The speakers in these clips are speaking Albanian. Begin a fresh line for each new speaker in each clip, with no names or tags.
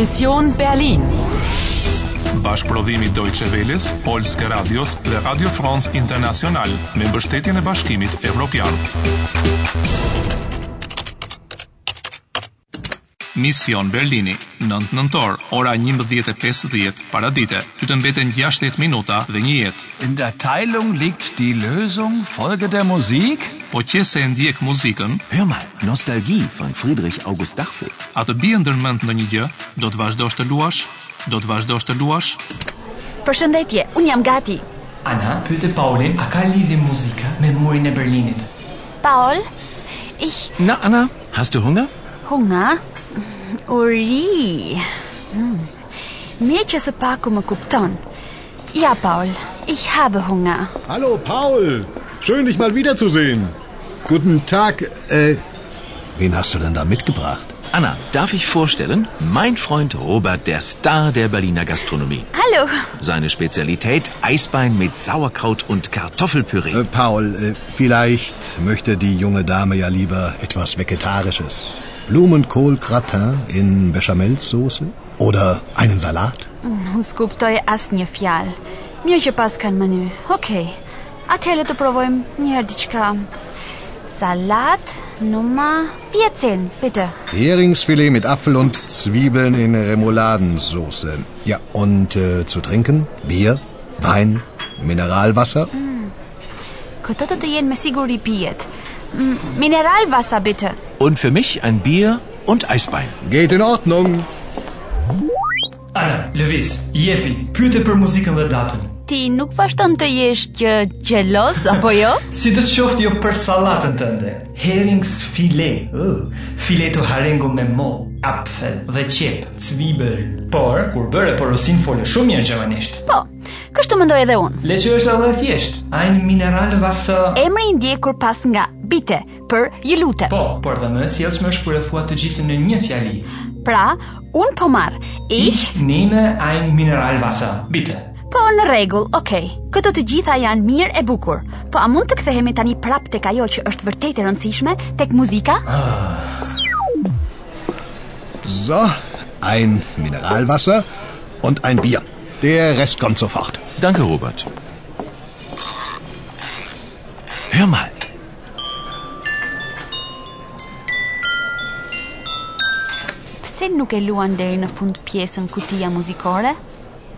Mission Berlin.
Bashkëprodhimi Deutsche Welles, Polske Radios dhe Radio France International me mbështetjen e Bashkimit Evropian. Mision Berlini, 9 nëntor, ora 11:50 para dite. Ty të mbeten 60 minuta dhe një jetë.
In der Teilung liegt die Lösung. Folge der Musik.
Po qëse e ndjek muzikën,
Hör mal, Nostalgie von Friedrich August Dachfeld.
a të bie ndërmend në një gjë, do të vazhdosh të luash, do të vazhdosh të luash,
Përshëndetje, unë jam gati.
Ana pyete Paulin, a ka lidhje muzika me murin e Berlinit?
Paul, ich
Na, Anna, hast du Hunger?
hunga, uri. Mm. Mirë që së paku më kupton. Ja, Paul, ich habe Hunger.
Hallo Paul, schön dich mal wiederzusehen. Guten Tag, äh, wen hast du denn da mitgebracht?
Anna, darf ich vorstellen? Mein Freund Robert, der Star der Berliner Gastronomie.
Hallo,
Seine Spezialität Eisbein mit Sauerkraut und Kartoffelpüree.
Äh, Paul, äh, vielleicht möchte die junge Dame ja lieber etwas Vegetarisches. Blumenkohl-Gratin in Bechamelsoße oder einen Salat?
unë s'kuptoj asnjë fjalë. Mirë që pas kanë menu. Okej. Atëherë le të provojmë një herë diçka. Salat numër 14, bitte.
Heringsfilet mit Apfel und Zwiebeln in Remouladensauce. Ja, und äh, zu trinken? Bier, Wein, Mineralwasser?
Këto të të jenë me siguri pijet. Mm, Mineral vasa, bitte.
Und für mich ein Bier und Eisbein.
Geht in Ordnung.
Ana, lëviz, jepi, pyete për muzikën dhe datën.
Ti nuk vazhdon të jesh që gjelos, apo jo?
Si do të qoftë jo për sallatën tënde? Herrings filet, uh, fileto harengo me mo, apfel dhe qep, cvibel. Por, kur bëre porosin fole shumë mirë gjermanisht.
Po, kështu mendoj edhe unë.
Le që është edhe e thjesht. Ein mineral vasa...
Emri i ndjekur pas nga bite për ju lutem.
Po, por dhe më e sjellshme është kur e thua të gjithë në një fjali.
Pra, un po marr. Ich,
nehme ein mineral vasa, bitte.
po në rregull, okay. Këto të gjitha janë mirë e bukur. Po a mund të kthehemi tani prap tek ajo që është vërtet e rëndësishme, tek muzika?
So, ein Mineralwasser und ein Bier. Der Rest kommt sofort.
Danke, Robert. Hör mal.
Pse nuk e luan deri në fund pjesën kutia muzikore?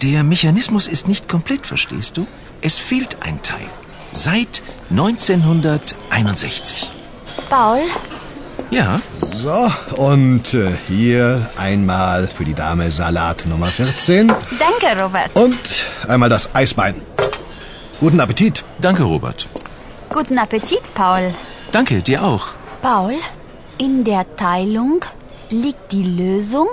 Der Mechanismus ist nicht komplett, verstehst du? Es fehlt ein Teil. Seit 1961.
Paul,
Ja,
So, und äh, hier einmal für die Dame Salat Nummer 14
danke Robert.
und einmal das Eisbein. Guten Appetit.
danke, Robert.
Guten Appetit, Paul.
Danke, dir auch.
Paul, in der Teilung liegt die Lösung,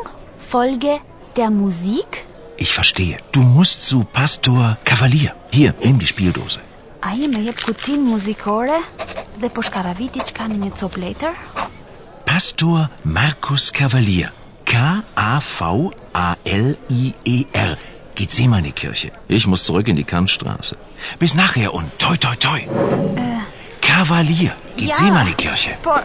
Folge der Musik.
Ich verstehe. Du musst zu Pastor Kavalier. Hier, nimm die Spieldose.
Ai më jep kutin muzikore dhe po shkaravi diçka në një copë letër.
Pastor Markus Kavalier. K-A-V-A-L-I-E-R. Geht sie mal in die Kirche. Ich muss zurück in die Kantstraße. Bis nachher und toi, toi, toi. Kavalier. Geht
Ja.
sie mal in die Kirche.
Por,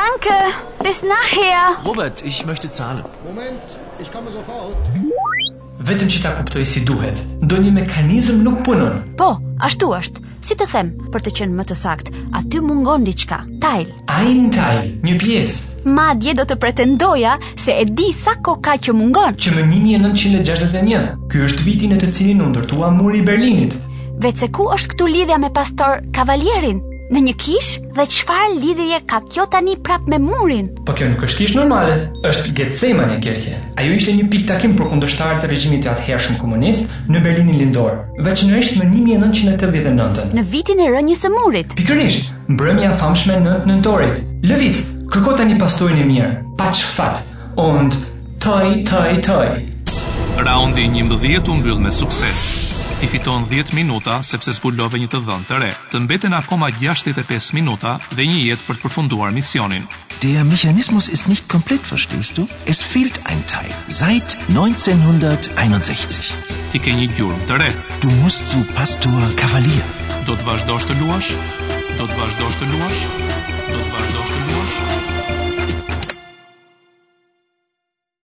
danke, bis nachher.
Robert, ich möchte zahlen.
Moment, ich komme sofort.
Vetëm që ta kuptoj si duhet. Ndonjë mekanizm nuk punon.
Po, ashtu është. Si të them, për të qenë më të sakt, aty mungon diçka. Tajl.
Ein Teil, një pjesë,
Madje do të pretendoja se e di sa kohë ka që mungon.
që më 1961. Ky është viti në të cilin u ndërtua muri i Berlinit.
Vetë se ku është këtu lidhja me pastor Kavalierin? Në një kish dhe qëfar lidhje ka kjo tani prap me murin?
Po kjo nuk është kish normale, është Getsemane kirkje. Ajo ishte një pikë takim për kundërshtarët e regjimit të atëhershëm komunist në Berlinin Lindor, veçanërisht në 1989.
Në vitin e rënjës e murit.
Pikërisht, mbrëmja e famshme në nëntorit. Lëviz, kërko tani pastorin e mirë, pa çfat. Und taj taj taj.
Raundi 11 u mbyll me sukses. Ti fiton 10 minuta sepse zbulove një të dhënë të re. Të mbeten akoma 65 minuta dhe një jetë për të përfunduar misionin.
Der Mechanismus ist nicht komplett, verstehst du? Es fehlt ein Teil. Seit 1961.
Ti ke një gjurmë të re.
Du musst zu Pastor Kavalier.
Do të vazhdosh të luash? Do të vazhdosh të luash?